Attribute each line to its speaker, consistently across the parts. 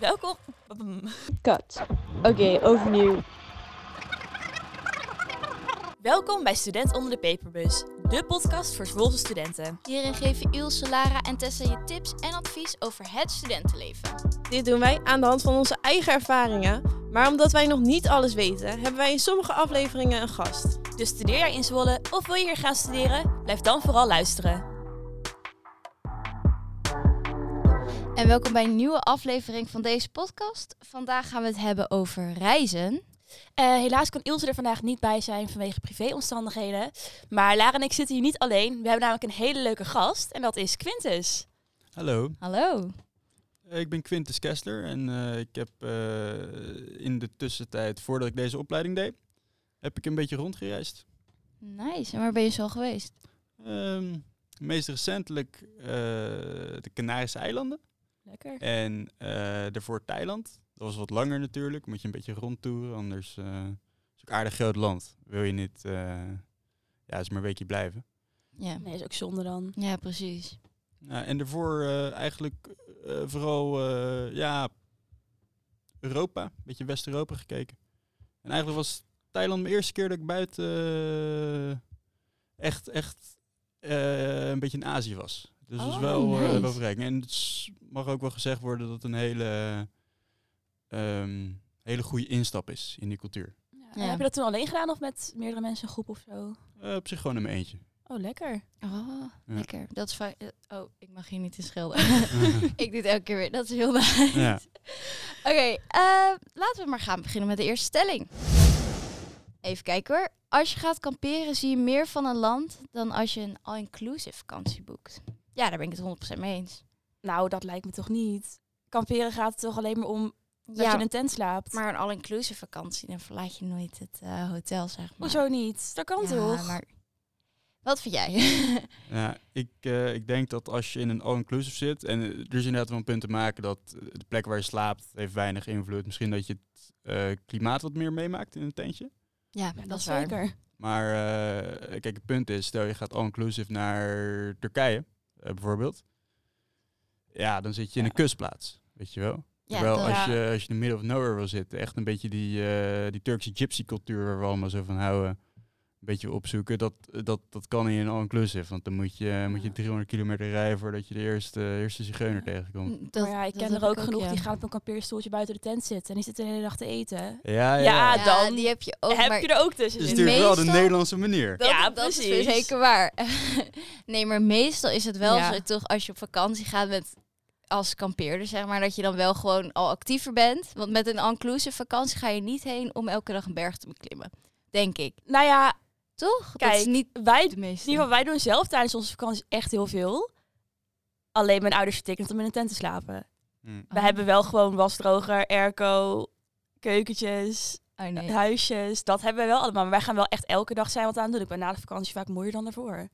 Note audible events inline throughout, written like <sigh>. Speaker 1: Welkom.
Speaker 2: Cut. Oké, overnieuw.
Speaker 1: Welkom bij Student onder de Paperbus, de podcast voor Zwolse studenten.
Speaker 3: Hierin geven Ilse, Lara en Tessa je tips en advies over het studentenleven.
Speaker 4: Dit doen wij aan de hand van onze eigen ervaringen. Maar omdat wij nog niet alles weten, hebben wij in sommige afleveringen een gast.
Speaker 1: Dus studeer jij in Zwolle of wil je hier gaan studeren? Blijf dan vooral luisteren.
Speaker 3: En welkom bij een nieuwe aflevering van deze podcast. Vandaag gaan we het hebben over reizen.
Speaker 1: Eh, helaas kan Ilse er vandaag niet bij zijn vanwege privéomstandigheden. Maar Lara en ik zitten hier niet alleen. We hebben namelijk een hele leuke gast en dat is Quintus.
Speaker 5: Hallo,
Speaker 3: Hallo.
Speaker 5: Eh, ik ben Quintus Kessler en eh, ik heb eh, in de tussentijd, voordat ik deze opleiding deed, heb ik een beetje rondgereisd.
Speaker 3: Nice. En waar ben je zo geweest?
Speaker 5: Ehm, meest recentelijk eh, de Canarische eilanden
Speaker 1: Lekker.
Speaker 5: en eh, daarvoor Thailand. Dat was wat langer natuurlijk, moet je een beetje rondtoeren, anders eh, het is het een aardig groot land. Wil je niet, eh, ja, is maar een weekje blijven.
Speaker 3: Ja.
Speaker 1: Nee, is ook zonde dan.
Speaker 3: Ja, precies.
Speaker 5: Ja, en daarvoor eh, eigenlijk eh, vooral eh, ja, Europa, een beetje West-Europa gekeken. En eigenlijk was Thailand mijn eerste keer dat ik buiten eh, echt, echt eh, een beetje in Azië was. Dus dat
Speaker 1: Oh,
Speaker 5: is wel, eh,
Speaker 3: nice.
Speaker 5: wel verrijking. En het is- mag ook wel gezegd worden dat het een hele, ehm, hele goede instap is in die cultuur.
Speaker 3: Ja.
Speaker 1: Heb je dat toen alleen gedaan of met meerdere mensen een groep of zo?
Speaker 5: Eh, op zich gewoon in mijn eentje.
Speaker 1: Oh, lekker.
Speaker 3: Oh,
Speaker 5: Ja.
Speaker 3: lekker. Dat is va- eh, Oh, ik mag hier niet in
Speaker 5: <laughs>
Speaker 3: schelden. <laughs> ik doe het elke keer weer. Dat is heel nice.
Speaker 5: Ja.
Speaker 3: <laughs> Oké, eh, laten we maar gaan beginnen met de eerste stelling. Even kijken hoor. Als je gaat kamperen zie je meer van een land dan als je een all-inclusive vakantie boekt. Ja, daar ben ik het 100% mee eens.
Speaker 1: Nou, dat lijkt me toch niet. Kamperen gaat het toch alleen maar om dat je in een tent slaapt?
Speaker 3: Maar een all-inclusive vakantie, dan verlaat je nooit het eh, hotel, zeg maar.
Speaker 1: Hoezo niet? Dat kan
Speaker 3: Ja,
Speaker 1: toch?
Speaker 3: maar wat vind jij?
Speaker 5: Ja, ik, eh, ik denk dat als je in een all-inclusive zit, en eh, er is inderdaad wel een punt te maken dat eh, de plek waar je slaapt heeft weinig invloed. Misschien dat je het eh, klimaat wat meer meemaakt in een tentje.
Speaker 3: ja,
Speaker 1: Ja,
Speaker 3: <laughs> dat, is waar.
Speaker 1: zeker.
Speaker 5: Maar eh, kijk, het punt is, stel je gaat all-inclusive naar Turkije, eh, bijvoorbeeld. Ja, dan zit je in een kustplaats, weet je wel.
Speaker 3: Ja,
Speaker 5: Terwijl
Speaker 3: dat-
Speaker 5: als
Speaker 1: Ja.
Speaker 5: je, als je in de middle of nowhere wil zitten, echt een beetje die, eh, die Turkse gypsy cultuur waar we allemaal zo van houden, een beetje opzoeken, dat, dat, dat kan in een all-inclusive. Want dan moet je, moet je
Speaker 1: Ja.
Speaker 5: 300 kilometer rijden voordat je de eerste, eerste zigeuner tegenkomt.
Speaker 3: dat-
Speaker 1: maar ja, ik
Speaker 3: dat
Speaker 1: ken
Speaker 3: heb
Speaker 1: er ook
Speaker 3: ik
Speaker 1: genoeg
Speaker 3: Mm, ja.
Speaker 1: die gaan op een kampeerstoeltje buiten de tent zitten en die zitten de hele dag te eten.
Speaker 5: Ja, ja.
Speaker 1: Ja,
Speaker 3: Ja, dus
Speaker 1: dan
Speaker 3: die Ah, heb je ook.
Speaker 1: Heb
Speaker 3: Oh, maar
Speaker 1: je er ook tussen
Speaker 5: dat is
Speaker 1: zitten?
Speaker 5: natuurlijk wel de
Speaker 3: meestal-
Speaker 5: Nederlandse manier.
Speaker 3: Dat,
Speaker 1: Ja,
Speaker 3: dat is weer
Speaker 1: precies.
Speaker 3: zeker waar. <laughs> nee, maar meestal is het wel
Speaker 1: Ja.
Speaker 3: zo, toch, als je op vakantie gaat met als kampeerder, zeg maar, dat je dan wel gewoon al actiever bent. Want met een inclusive vakantie ga je niet heen om elke dag een berg te beklimmen. Denk ik.
Speaker 1: Nou ja,
Speaker 3: Toch? dat
Speaker 1: Kijk,
Speaker 3: is niet
Speaker 1: wij, in
Speaker 3: de meeste.
Speaker 1: ieder geval, wij doen zelf tijdens onze vakantie echt heel veel. Alleen mijn ouders vertikken het om in een tent te slapen.
Speaker 5: Hm.
Speaker 3: Oh.
Speaker 1: We hebben wel gewoon wasdroger, airco, keukentjes,
Speaker 3: Oh, nee.
Speaker 1: huisjes. Dat hebben we wel allemaal. Maar wij gaan wel echt elke dag zijn wat aan het doen. Ik ben na de vakantie vaak moeier dan daarvoor.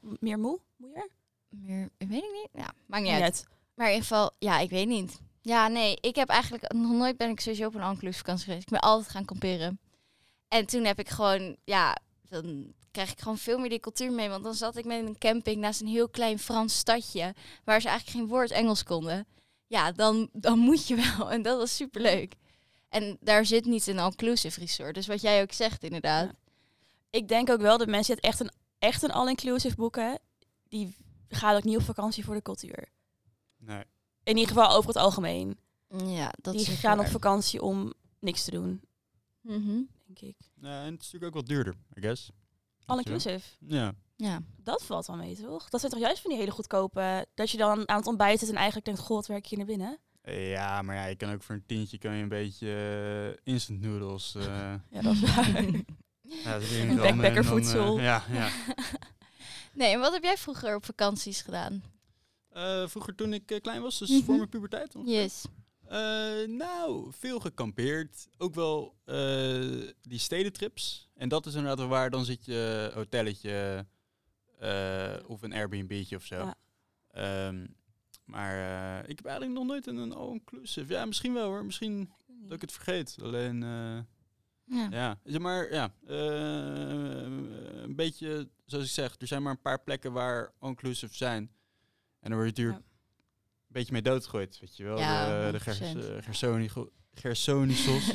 Speaker 1: M- Meer moe? Moeier?
Speaker 3: Meer, weet ik niet. Ja, maakt niet
Speaker 1: Ja.
Speaker 3: uit. Maar in ieder geval, ja, ik weet niet. Ja, nee, ik heb eigenlijk nog nooit ben ik sowieso op een all vakantie geweest. Ik ben altijd gaan kamperen. En toen heb ik gewoon, ja, dan krijg ik gewoon veel meer die cultuur mee. Want dan zat ik met een camping naast een heel klein Frans stadje, waar ze eigenlijk geen woord Engels konden. Ja, dan, dan <laughs> moet je wel. En dat was superleuk. En daar zit niet een all-inclusive resort. Dus wat jij ook zegt, inderdaad.
Speaker 1: Ik denk ook wel dat mensen het echt een, echt een all-inclusive boeken. Die gaan ook niet op vakantie voor de cultuur.
Speaker 5: Nee.
Speaker 1: In ieder geval over het algemeen.
Speaker 3: Ja, dat
Speaker 1: die
Speaker 3: is ook
Speaker 1: gaan op
Speaker 3: waar.
Speaker 1: vakantie om niks te doen,
Speaker 3: Mhm.
Speaker 1: denk ik.
Speaker 5: Ja, en het is natuurlijk ook wat duurder, I guess.
Speaker 1: All-inclusive.
Speaker 5: Ja.
Speaker 3: Ja.
Speaker 1: Dat valt wel mee, toch? Dat zijn toch juist van die hele goedkope... dat je dan aan het ontbijt zit en eigenlijk denkt... god, werk je hier naar binnen?
Speaker 5: Ja, maar ja, je kan ook voor een tientje kan je een beetje eh, instant noodles. eh,
Speaker 3: <laughs>
Speaker 1: Ja, dat is waar.
Speaker 5: ja, drie rammen
Speaker 3: Een
Speaker 5: en dan, eh,
Speaker 1: backpackervoedsel.
Speaker 5: ja, ja.
Speaker 3: <laughs> nee, en wat heb jij vroeger op vakanties gedaan?
Speaker 5: Eh, vroeger toen ik eh, klein was, dus
Speaker 3: Mhm.
Speaker 5: voor mijn puberteit. ongeveer.
Speaker 3: Yes.
Speaker 5: Eh, nou, veel gekampeerd. Ook wel eh, die stedentrips. En dat is inderdaad wel waar. Dan zit je een hotelletje eh, of een Airbnb'tje of zo.
Speaker 1: Ja.
Speaker 5: Ehm, maar eh, ik heb eigenlijk nog nooit in een all-inclusive. Ja, misschien wel hoor. Misschien dat ik het vergeet. Alleen, eh,
Speaker 3: Ja.
Speaker 5: ja. Zeg maar, ja. eh, een beetje, zoals ik zeg, er zijn maar een paar plekken waar all-inclusive zijn. En dan word je natuurlijk beetje mee doodgooit. Weet je wel,
Speaker 3: Ja,
Speaker 5: de, de
Speaker 3: 100%.
Speaker 5: Gers- eh, Gersoni- Gersonisos,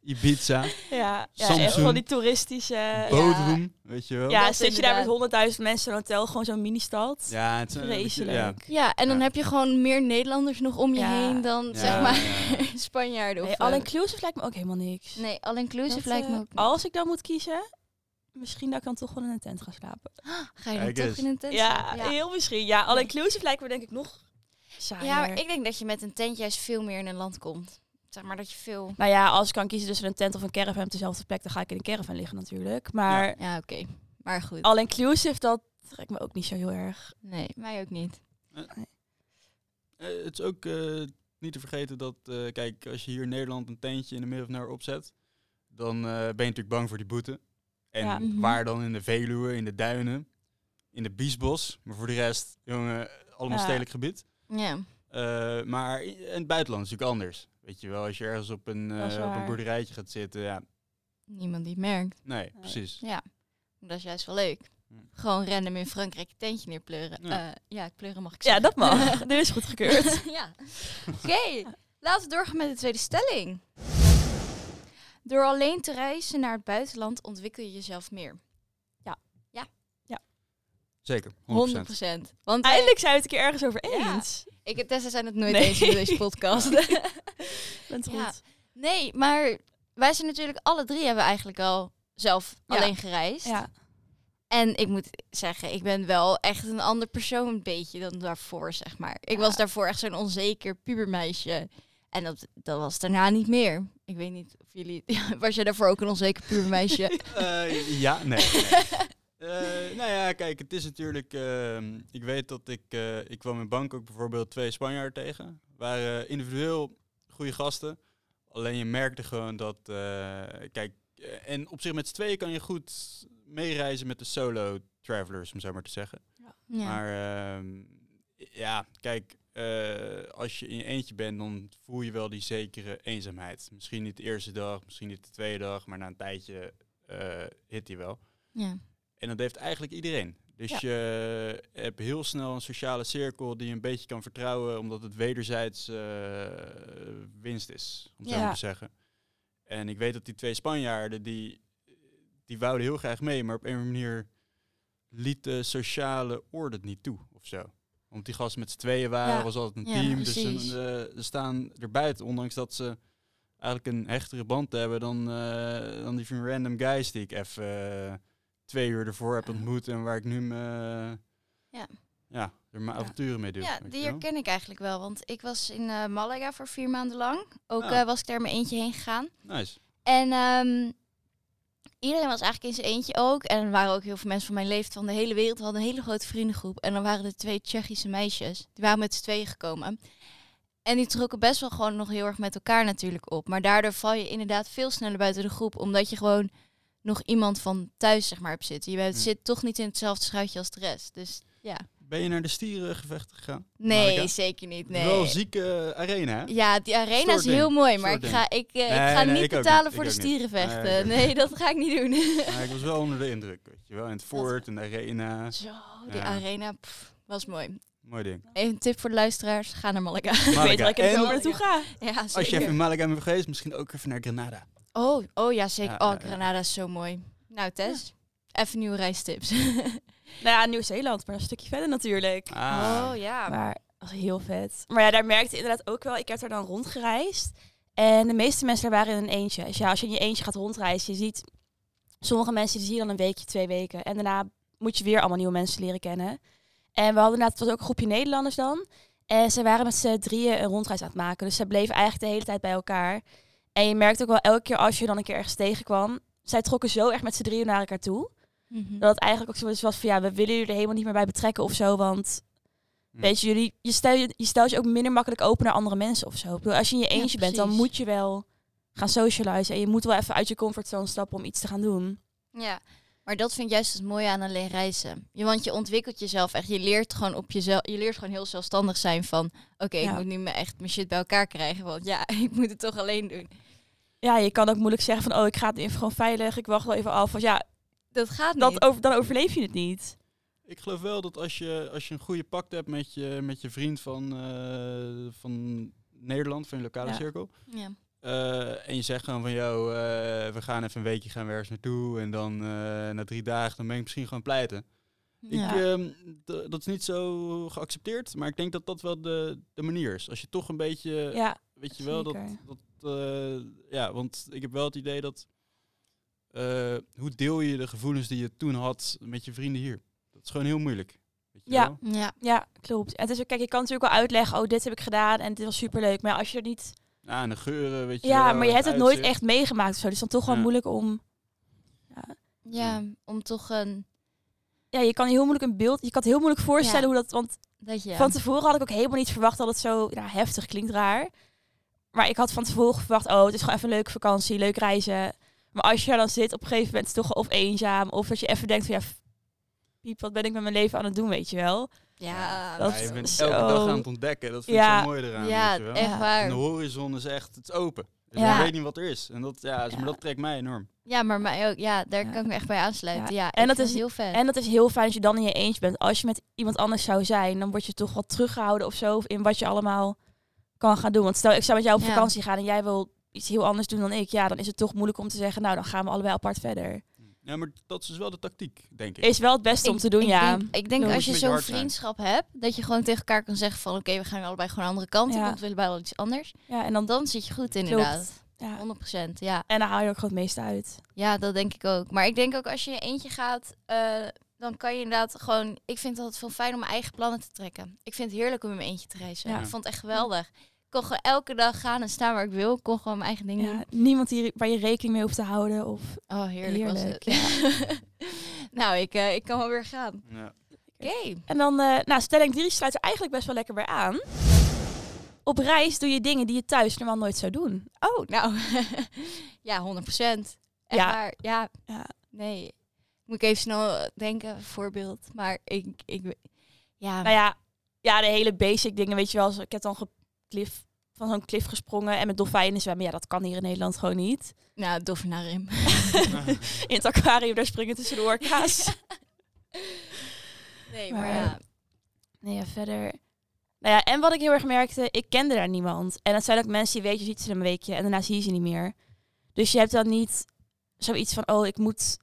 Speaker 5: Ibiza,
Speaker 1: Ja, ja
Speaker 5: Samsung.
Speaker 1: echt van die
Speaker 3: Eh,
Speaker 1: toeristische...
Speaker 5: Bodrum, weet je wel.
Speaker 1: Ja, zit
Speaker 3: Dat
Speaker 1: je daar met
Speaker 3: inderdaad.
Speaker 1: honderdduizend mensen in een hotel, gewoon zo'n mini-stad.
Speaker 5: Ja, het is een- Ja,
Speaker 1: Vreselijk.
Speaker 3: <laughs> Ja, en dan
Speaker 5: Ja.
Speaker 3: heb je gewoon meer Nederlanders nog om je
Speaker 1: Ja.
Speaker 3: heen dan
Speaker 5: Ja,
Speaker 3: zeg maar <laughs>
Speaker 5: ja.
Speaker 3: Spanjaarden. Of,
Speaker 1: Nee,
Speaker 3: eh,
Speaker 1: all-inclusive lijkt me ook helemaal niks.
Speaker 3: nee, all-inclusive
Speaker 1: Dat,
Speaker 3: lijkt
Speaker 1: eh,
Speaker 3: me ook.
Speaker 1: Als ik dan moet kiezen, misschien dat ik dan toch gewoon in een tent ga slapen.
Speaker 3: <gasps> Ga je dan
Speaker 5: Kijk
Speaker 3: toch
Speaker 5: eens.
Speaker 3: in een tent?
Speaker 1: Ja,
Speaker 3: slapen?
Speaker 1: heel misschien. Ja, all-inclusive lijkt me denk ik nog saaier.
Speaker 3: Ja, maar ik denk dat je met een tent juist veel meer in een land komt. Zeg maar dat je veel...
Speaker 1: Nou ja, als ik kan kiezen tussen een tent of een caravan op dezelfde plek, dan ga ik in een caravan liggen natuurlijk. Maar
Speaker 3: Ja, oké. Maar goed.
Speaker 1: all-inclusive, dat trekt me ook niet zo heel erg.
Speaker 3: Nee, mij ook niet.
Speaker 5: Eh, het is ook eh, niet te vergeten dat, eh, kijk, als je hier in Nederland een tentje in de middel van naar opzet, dan eh, ben je natuurlijk bang voor die boete. En
Speaker 1: Ja.
Speaker 3: Mhm.
Speaker 5: waar dan in de Veluwe, in de duinen, in de Biesbos, maar voor de rest, jongen, allemaal
Speaker 1: Ja.
Speaker 5: stedelijk gebied.
Speaker 3: Ja.
Speaker 5: Eh, maar in in het buitenland is natuurlijk anders. Weet je wel, als je ergens op een,
Speaker 1: Dat is
Speaker 5: eh, op een
Speaker 1: waar.
Speaker 5: boerderijtje gaat zitten, ja,
Speaker 3: Niemand die het merkt.
Speaker 5: nee, precies.
Speaker 3: Ja. Dat is juist wel leuk.
Speaker 5: Hm.
Speaker 3: Gewoon random in Frankrijk een tentje neerpleuren.
Speaker 5: Ja.
Speaker 3: Ja, ja pleuren mag ik
Speaker 1: Ja,
Speaker 3: zeggen.
Speaker 1: dat
Speaker 3: <laughs>
Speaker 1: mag. Dit is goedgekeurd.
Speaker 3: ja. Oké, laten we doorgaan met de tweede stelling. Door alleen te reizen naar het buitenland ontwikkel je jezelf meer.
Speaker 5: Zeker, 100%.
Speaker 3: 100 Want wij-
Speaker 1: Eindelijk zijn we het een keer ergens over
Speaker 3: Ja.
Speaker 1: eens.
Speaker 3: ik en Tessa zijn het nooit
Speaker 1: Nee.
Speaker 3: eens in deze podcast.
Speaker 1: <laughs> Bent goed.
Speaker 3: Ja. Nee, maar wij zijn natuurlijk alle drie hebben eigenlijk al zelf
Speaker 1: Ja.
Speaker 3: alleen gereisd.
Speaker 1: Ja.
Speaker 3: En ik moet zeggen, ik ben wel echt een ander persoon een beetje dan daarvoor, zeg maar. Ik was
Speaker 1: Ja.
Speaker 3: daarvoor echt zo'n onzeker pubermeisje. En dat, dat was daarna niet meer. Ik weet niet of jullie... <laughs> was jij daarvoor ook een onzeker
Speaker 1: <laughs>
Speaker 3: pubermeisje?
Speaker 5: Eh, ja, nee. nee. Eh, nou ja, kijk, het is natuurlijk... ehm, ik weet dat ik... eh, ik kwam in Bangkok bijvoorbeeld twee Spanjaarden tegen. Waren individueel goede gasten. Alleen je merkte gewoon dat... eh, kijk, eh, en op zich met z'n tweeën kan je goed meereizen met de solo-travelers, om zo maar te zeggen.
Speaker 3: ja.
Speaker 5: Maar ehm, ja, kijk, eh, als je in je eentje bent, dan voel je wel die zekere eenzaamheid. Misschien niet de eerste dag, misschien niet de tweede dag, maar na een tijdje eh, hit die wel.
Speaker 3: ja.
Speaker 5: En dat heeft eigenlijk iedereen. Dus je hebt heel snel een sociale cirkel die je een beetje kan vertrouwen, omdat het wederzijds eh, winst is, om zo
Speaker 1: Ja.
Speaker 5: maar te zeggen. En ik weet dat die twee Spanjaarden, die, die wouden heel graag mee, maar op een of andere manier liet de sociale orde het niet toe of zo. Omdat die gasten met z'n tweeën waren,
Speaker 1: Ja.
Speaker 5: was altijd een
Speaker 3: Ja,
Speaker 5: team. Dus
Speaker 3: precies.
Speaker 5: een, eh, ze staan er buiten, ondanks dat ze eigenlijk een hechtere band hebben dan, eh, dan die van random guys die ik even eh, twee uur ervoor heb ontmoet en waar ik nu me,
Speaker 3: Ah. Ja.
Speaker 5: ja, er mijn
Speaker 1: Ja.
Speaker 5: avonturen mee doe.
Speaker 3: Ja,
Speaker 5: weet je
Speaker 3: die
Speaker 5: wel.
Speaker 3: herken ik eigenlijk wel. Want ik was in eh, Malaga voor vier maanden lang. Ook
Speaker 5: Ah.
Speaker 3: eh, was ik daar mijn eentje heen gegaan.
Speaker 5: Nice.
Speaker 3: En ehm, iedereen was eigenlijk in zijn eentje ook. En er waren ook heel veel mensen van mijn leeftijd van de hele wereld. We hadden een hele grote vriendengroep. En dan waren er twee Tsjechische meisjes. Die waren met z'n tweeën gekomen. En die trokken best wel gewoon nog heel erg met elkaar natuurlijk op. Maar daardoor val je inderdaad veel sneller buiten de groep. Omdat je gewoon nog iemand van thuis zeg maar hebt zitten. Je bent,
Speaker 5: Hm.
Speaker 3: zit toch niet in hetzelfde schuitje als de rest. Dus ja.
Speaker 5: Ben je naar de stierengevechten gegaan?
Speaker 3: Nee,
Speaker 5: Marika?
Speaker 3: zeker niet. Nee.
Speaker 5: Wel zieke eh, arena, hè?
Speaker 3: Ja, die arena
Speaker 5: Stoer
Speaker 3: is
Speaker 5: ding.
Speaker 3: heel mooi, maar
Speaker 5: Stoer
Speaker 3: ik ga, ik, eh, ik ga
Speaker 5: nee,
Speaker 3: niet
Speaker 5: ik ook
Speaker 3: betalen
Speaker 5: niet.
Speaker 3: voor
Speaker 5: Ik
Speaker 3: de
Speaker 5: ook niet.
Speaker 3: stierenvechten.
Speaker 5: Nee, ik ook
Speaker 3: nee, dat ga ik niet doen.
Speaker 5: Maar ik was wel onder de indruk, weet je wel. In het fort, en de arena.
Speaker 3: <laughs> Zo, die
Speaker 5: Ja.
Speaker 3: arena pff, was mooi.
Speaker 5: Mooi ding.
Speaker 3: Even een tip voor de luisteraars: ga naar Malaga.
Speaker 1: Ik weet
Speaker 5: Malaga.
Speaker 1: dat ik er
Speaker 5: En
Speaker 1: zo naartoe ga.
Speaker 3: <laughs> ja,
Speaker 5: als je
Speaker 3: zeker.
Speaker 5: even in Malaga bent geweest, misschien ook even naar Granada.
Speaker 3: Oh, oh ja, zeker.
Speaker 5: Ja, ja,
Speaker 3: oh,
Speaker 5: ja.
Speaker 3: Granada is zo mooi. Nou, Tess, even nieuwe <laughs> reistips.
Speaker 1: Nou ja, Nieuw-Zeeland, maar een stukje verder natuurlijk.
Speaker 5: Ah,
Speaker 3: Oh ja.
Speaker 1: Maar dat was heel vet. Maar ja, daar merkte ik inderdaad ook wel. Ik heb daar dan rondgereisd. En de meeste mensen daar waren in een eentje. Dus ja, als je in je eentje gaat rondreizen, je ziet... Sommige mensen die zie je dan een weekje, twee weken. En daarna moet je weer allemaal nieuwe mensen leren kennen. En we hadden inderdaad, het was ook een groepje Nederlanders dan. En ze waren met z'n drieën een rondreis aan het maken. Dus ze bleven eigenlijk de hele tijd bij elkaar. En je merkt ook wel elke keer als je dan een keer ergens tegenkwam... Zij trokken zo echt met z'n drieën naar elkaar toe.
Speaker 3: Mhm.
Speaker 1: Dat het eigenlijk ook zoiets was van ja, we willen jullie er helemaal niet meer bij betrekken of zo. Want
Speaker 5: Hm.
Speaker 1: weet je, jullie, je, stel, je je stelt je ook minder makkelijk open naar andere mensen of zo. Ik bedoel, als je in je
Speaker 3: Ja,
Speaker 1: eentje bent, dan
Speaker 3: precies.
Speaker 1: moet je wel gaan socializen. En je moet wel even uit je comfortzone stappen om iets te gaan doen.
Speaker 3: Ja, maar dat vind ik juist het mooie aan alleen reizen. Je, want je ontwikkelt jezelf echt. Je leert gewoon op jezelf. Je leert gewoon heel zelfstandig zijn van. Oké, ik
Speaker 1: Ja.
Speaker 3: moet nu me echt mijn shit bij elkaar krijgen. Want ja, <laughs> ik moet het toch alleen doen.
Speaker 1: Ja, je kan ook moeilijk zeggen van oh, ik ga het nu even gewoon veilig. Ik wacht wel even af. Want ja,
Speaker 3: Dat gaat niet.
Speaker 1: dat over, dan overleef je het niet.
Speaker 5: Ik geloof wel dat als je, als je een goede pact hebt met je, met je vriend van, eh, van Nederland, van je lokale
Speaker 1: Ja.
Speaker 5: cirkel.
Speaker 3: Ja.
Speaker 5: eh, en je zegt gewoon van, joh, eh, we gaan even een weekje gaan we ergens naartoe. En dan eh, na drie dagen, dan ben ik misschien gewoon pleiten.
Speaker 1: eh,
Speaker 5: Ik, ehm, d- dat is niet zo geaccepteerd, maar ik denk dat dat wel de, de manier is. Als je toch een beetje
Speaker 1: ja,
Speaker 5: Weet je wel, dat,
Speaker 1: Zeker.
Speaker 5: dat eh, ja, want ik heb wel het idee dat, eh, hoe deel je de gevoelens die je toen had met je vrienden hier? Dat is gewoon heel moeilijk. Weet je
Speaker 1: Ja.
Speaker 5: wel?
Speaker 3: Ja.
Speaker 1: ja, klopt. En het is, ook- kijk, je kan natuurlijk wel uitleggen, oh, dit heb ik gedaan en dit was superleuk. Maar ja, als je er niet...
Speaker 5: Ja, en de geuren, weet je
Speaker 1: Ja,
Speaker 5: wel,
Speaker 1: maar je hebt het nooit
Speaker 5: uitzicht.
Speaker 1: echt meegemaakt of zo. Dus dan toch gewoon
Speaker 5: Ja.
Speaker 1: moeilijk om...
Speaker 3: Ja, om toch een...
Speaker 1: Ja, je kan heel moeilijk een beeld... Je kan het heel moeilijk voorstellen
Speaker 3: Ja.
Speaker 1: hoe dat... Want
Speaker 3: Dat je...
Speaker 1: van tevoren had ik ook helemaal niet verwacht dat het zo nou, heftig klinkt raar. Maar ik had van tevoren verwacht, oh, het is gewoon even een leuke vakantie, leuk reizen. Maar als je er dan zit, op een gegeven moment is het toch wel of eenzaam. Of dat je even denkt van, ja, f- piep, wat ben ik met mijn leven aan het doen, weet je wel.
Speaker 3: ja,
Speaker 1: Dat
Speaker 5: Ja, je bent
Speaker 1: zo-
Speaker 5: elke dag aan het ontdekken. Dat vind
Speaker 1: Ja.
Speaker 5: ik zo mooi eraan.
Speaker 3: ja
Speaker 5: weet je wel.
Speaker 3: echt
Speaker 1: Ja.
Speaker 5: En de
Speaker 3: waar.
Speaker 5: horizon is echt, het is open. Dus
Speaker 3: Ja.
Speaker 5: Je weet niet wat er is. En dat, ja, dus,
Speaker 1: Ja.
Speaker 5: Maar dat trekt mij enorm.
Speaker 3: Ja, maar mij ook. Ja, daar
Speaker 1: Ja.
Speaker 3: kan ik me echt bij aansluiten. Ja,
Speaker 1: En
Speaker 3: ik
Speaker 1: dat
Speaker 3: vind
Speaker 1: is-
Speaker 3: het heel vet.
Speaker 1: En dat is heel fijn als je dan in je eentje bent. Als je met iemand anders zou zijn, dan word je toch wat teruggehouden of zo. In wat je allemaal kan gaan doen. Want stel, ik zou met jou op
Speaker 3: Ja.
Speaker 1: vakantie gaan en jij wil iets heel anders doen dan ik. Ja, dan is het toch moeilijk om te zeggen, nou, dan gaan we allebei apart verder.
Speaker 5: Ja, maar dat is dus wel de tactiek, denk ik.
Speaker 1: Is wel het beste om
Speaker 3: Ik-
Speaker 1: te doen,
Speaker 3: ik
Speaker 1: ja.
Speaker 3: Denk, ik
Speaker 5: Dan
Speaker 3: denk als
Speaker 5: moet je
Speaker 3: je
Speaker 5: met je
Speaker 3: zo'n
Speaker 5: hart zijn.
Speaker 3: vriendschap hebt, dat je gewoon tegen elkaar kan zeggen van... Oké, we gaan nu allebei gewoon een andere kant op,
Speaker 1: Ja.
Speaker 3: want we willen bij wel iets anders.
Speaker 1: ja, en dan,
Speaker 3: Dan zit je goed
Speaker 1: Klopt.
Speaker 3: inderdaad.
Speaker 1: ja.
Speaker 3: 100%. Ja.
Speaker 1: En dan haal je ook gewoon het meeste uit.
Speaker 3: ja, dat denk ik ook. Maar ik denk ook als je in je eentje gaat... eh, dan kan je inderdaad gewoon... Ik vind het altijd veel fijn om mijn eigen plannen te trekken. Ik vind het heerlijk om in mijn eentje te reizen.
Speaker 1: Ja.
Speaker 3: Ik vond het echt geweldig. Ik kon gewoon elke dag gaan en staan waar ik wil. Ik kon gewoon mijn eigen dingen doen.
Speaker 1: Ja, niemand hier waar je rekening mee hoeft te houden. Of
Speaker 3: Oh, heerlijk,
Speaker 1: Heerlijk,
Speaker 3: was het. <laughs> nou, ik, eh, ik kan wel weer gaan.
Speaker 5: Ja. <laughs>
Speaker 3: Oké.
Speaker 1: En dan, eh, nou, stelling 3 sluit er eigenlijk best wel lekker bij aan. Op reis doe je dingen die je thuis normaal nooit zou doen.
Speaker 3: Oh, nou. <laughs> ja, 100 procent.
Speaker 1: Ja.
Speaker 3: Ja. Maar, ja.
Speaker 1: Ja.
Speaker 3: Nee. Moet ik even snel eh, denken, voorbeeld. Maar ik... ik we- ja.
Speaker 1: Nou ja, ja, de hele basic dingen, weet je wel. Zo- Ik heb dan ge- cliff, van zo'n cliff gesprongen en met dolfijnen zwemmen. Ja, dat kan hier in Nederland gewoon niet.
Speaker 3: Nou, dolfinarium.
Speaker 1: <laughs> In het aquarium, daar springen tussen de orka's.
Speaker 3: nee,
Speaker 1: maar
Speaker 3: <laughs> maar,
Speaker 1: ja.
Speaker 3: ja.
Speaker 1: nee, ja, verder... Nou ja, en wat ik heel erg merkte, ik kende daar niemand. En dat zijn ook mensen die weet, je ziet ze een weekje en daarna zie je ze niet meer. Dus je hebt dan niet zoiets van, oh, ik moet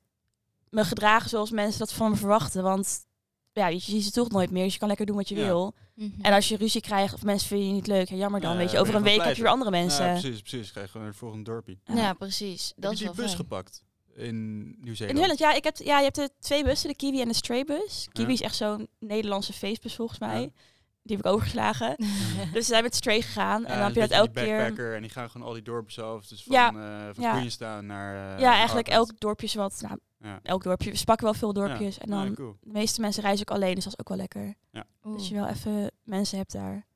Speaker 1: me gedragen zoals mensen dat van me verwachten. Want ja, weet je je ziet ze toch nooit meer, dus je kan lekker doen wat je
Speaker 5: Ja.
Speaker 1: wil.
Speaker 3: Mhm.
Speaker 1: En als je ruzie krijgt of mensen vinden je niet leuk, ja, jammer dan.
Speaker 5: Eh,
Speaker 1: weet je,
Speaker 5: ben
Speaker 1: over
Speaker 5: je
Speaker 1: een
Speaker 5: gewoon
Speaker 1: week heb je weer andere mensen.
Speaker 5: Ja, precies, precies. Krijg je gewoon naar het volgende dorpje.
Speaker 3: ja, precies. Dat
Speaker 5: Heb
Speaker 3: is
Speaker 5: je die
Speaker 3: wel
Speaker 5: bus
Speaker 3: fijn.
Speaker 5: gepakt in Nieuw-Zeeland?
Speaker 1: In Holland, ja, ik heb, ja, je hebt de twee bussen, de Kiwi en de Straybus. Kiwi
Speaker 5: Ja.
Speaker 1: is echt zo'n Nederlandse feestbus volgens mij.
Speaker 5: Ja.
Speaker 1: Die heb ik overgeslagen. dus
Speaker 3: <laughs>
Speaker 1: we zijn met Stray gegaan. en
Speaker 5: Ja,
Speaker 1: dan heb je
Speaker 5: een
Speaker 1: dat
Speaker 5: beetje
Speaker 1: elke
Speaker 5: die
Speaker 1: keer.
Speaker 5: backpacker En die gaan gewoon al die dorpen zelf. Dus van,
Speaker 1: Ja.
Speaker 5: eh, van
Speaker 1: Ja.
Speaker 5: Queenstown naar... eh,
Speaker 1: Ja, eigenlijk
Speaker 5: Auckland.
Speaker 1: elk dorpje is wat. Nou,
Speaker 5: Ja.
Speaker 1: elk dorpje. We spakken wel veel dorpjes. En dan,
Speaker 5: Ah, cool.
Speaker 1: de meeste mensen reizen ook alleen, dus dat is ook wel lekker.
Speaker 3: Oeh,
Speaker 1: Dus je wel even mensen hebt daar.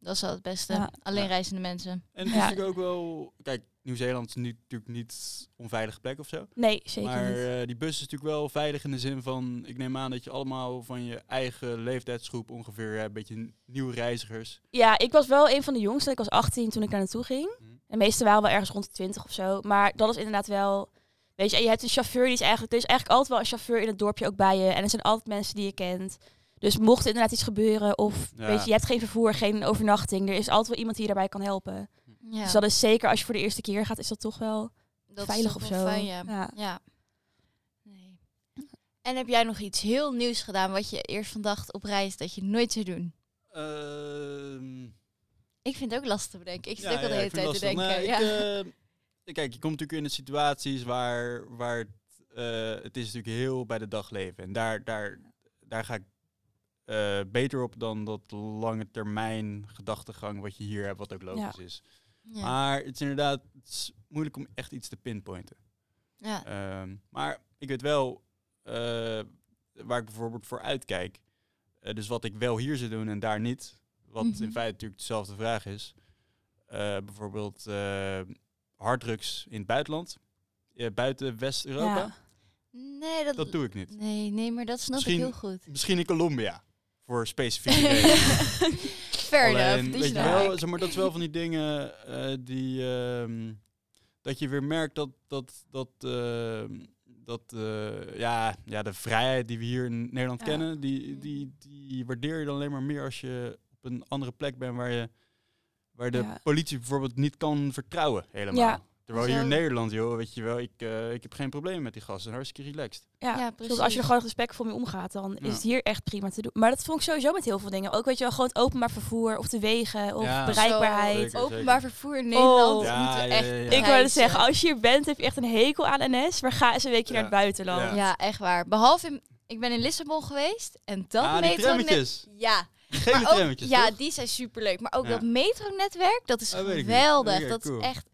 Speaker 3: dat is wel het beste.
Speaker 1: Ja.
Speaker 3: Alleen
Speaker 5: Ja.
Speaker 3: reizende mensen.
Speaker 5: En
Speaker 1: Ja.
Speaker 5: het is natuurlijk ook wel... Kijk, Nieuw-Zeeland is nu, natuurlijk niet onveilige plek of zo.
Speaker 1: Nee, zeker
Speaker 5: maar
Speaker 1: niet.
Speaker 5: eh, die bus is natuurlijk wel veilig in de zin van... Ik neem aan dat je allemaal van je eigen leeftijdsgroep ongeveer... eh, Een beetje n- nieuwe reizigers.
Speaker 1: Ja, ik was wel een van de jongsten. Ik was 18 toen ik daar naartoe ging.
Speaker 5: Hm.
Speaker 1: De meeste waren wel ergens rond de 20 of zo. Maar dat is inderdaad wel. Weet je, en je hebt een chauffeur die is eigenlijk. Er is eigenlijk altijd wel een chauffeur in het dorpje ook bij je. En er zijn altijd mensen die je kent. Dus mocht er inderdaad iets gebeuren. Of
Speaker 5: Ja.
Speaker 1: weet je, je hebt geen vervoer, geen overnachting. Er is altijd wel iemand die je daarbij kan helpen.
Speaker 3: Ja,
Speaker 1: Dus dat is zeker als je voor de eerste keer gaat, is dat toch wel
Speaker 3: dat is
Speaker 1: veilig
Speaker 3: toch
Speaker 1: of
Speaker 3: wel
Speaker 1: zo.
Speaker 3: fijn, ja.
Speaker 1: Ja.
Speaker 3: Ja. Nee. En heb jij nog iets heel nieuws gedaan wat je eerst van dacht op reis dat je nooit zou doen?
Speaker 5: Ehm,
Speaker 3: Ik vind het ook lastig te bedenken. Ik zit
Speaker 5: Ja,
Speaker 3: ook al de
Speaker 5: ja,
Speaker 3: hele
Speaker 5: ik vind
Speaker 3: tijd te
Speaker 5: het
Speaker 3: denken.
Speaker 5: lastig.
Speaker 3: ja.
Speaker 5: Nou, ik, eh, kijk, je komt natuurlijk in de situaties waar, waar het, eh, het is natuurlijk heel bij de dag leven. En daar, daar, daar ga ik eh, beter op dan dat lange termijn gedachtegang wat je hier hebt, wat ook logisch is.
Speaker 3: Ja.
Speaker 5: Maar het is inderdaad het is moeilijk om echt iets te pinpointen.
Speaker 3: Ja.
Speaker 5: Ehm, maar ik weet wel eh, waar ik bijvoorbeeld voor uitkijk. Eh, dus wat ik wel hier zou doen en daar niet. Wat
Speaker 3: Mhm.
Speaker 5: in feite natuurlijk dezelfde vraag is. Eh, bijvoorbeeld eh, harddrugs in het buitenland. eh, buiten West-Europa.
Speaker 1: Ja.
Speaker 3: Nee, dat,
Speaker 5: Dat doe ik niet.
Speaker 3: nee, nee, maar dat snap
Speaker 5: Misschien-
Speaker 3: ik heel goed.
Speaker 5: Misschien in Colombia. Voor
Speaker 3: <laughs>
Speaker 5: specifieke redenen.
Speaker 3: Fair enough. dus
Speaker 5: Alleen,
Speaker 3: Die
Speaker 5: weet je
Speaker 3: snap
Speaker 5: wel,
Speaker 3: ik.
Speaker 5: zeg maar, dat is wel van die dingen eh, die... ehm, dat je weer merkt dat, dat, dat, ehm, dat eh, ja, ja, de vrijheid die we hier in Nederland
Speaker 1: Ja.
Speaker 5: kennen, die,
Speaker 3: Mm.
Speaker 5: die, die waardeer je dan alleen maar meer als je op een andere plek bent waar, je, waar de
Speaker 1: Ja.
Speaker 5: politie bijvoorbeeld niet kan vertrouwen helemaal.
Speaker 1: Ja.
Speaker 5: Terwijl hier in
Speaker 3: Zo.
Speaker 5: Nederland, joh, weet je wel, ik, eh, ik heb geen probleem met die gasten, hartstikke relaxed.
Speaker 1: Ja, precies.
Speaker 3: Ja,
Speaker 1: Als je er
Speaker 3: precies.
Speaker 1: gewoon respectvol mee omgaat, dan
Speaker 5: Ja.
Speaker 1: is het hier echt prima te doen. Maar dat vond ik sowieso met heel veel dingen. Ook weet je wel, gewoon het openbaar vervoer of de wegen of
Speaker 5: Ja.
Speaker 1: bereikbaarheid.
Speaker 5: Zeker,
Speaker 3: Openbaar vervoer in
Speaker 1: Oh.
Speaker 3: Nederland
Speaker 1: Ja,
Speaker 3: moeten we
Speaker 5: ja,
Speaker 3: echt...
Speaker 5: ja, ja.
Speaker 1: Ik
Speaker 3: prijzen.
Speaker 1: wou het zeggen, als je hier bent, heb je echt een hekel aan NS. Maar ga eens een weekje
Speaker 5: Ja.
Speaker 1: naar het buitenland.
Speaker 5: Ja.
Speaker 3: Ja, echt waar. Behalve, in, ik ben in Lissabon geweest en dat
Speaker 5: ah, die
Speaker 3: metronet- <laughs>
Speaker 5: trammetjes.
Speaker 3: Ja,
Speaker 5: Die gele
Speaker 3: Maar ook-
Speaker 5: trammetjes,
Speaker 3: ja,
Speaker 5: toch?
Speaker 3: die zijn superleuk. Maar ook
Speaker 5: Ja.
Speaker 3: dat metronetwerk, dat is
Speaker 5: Ah, weet ik niet.
Speaker 3: geweldig.
Speaker 5: Oké,
Speaker 3: dat,
Speaker 5: cool.
Speaker 3: is echt,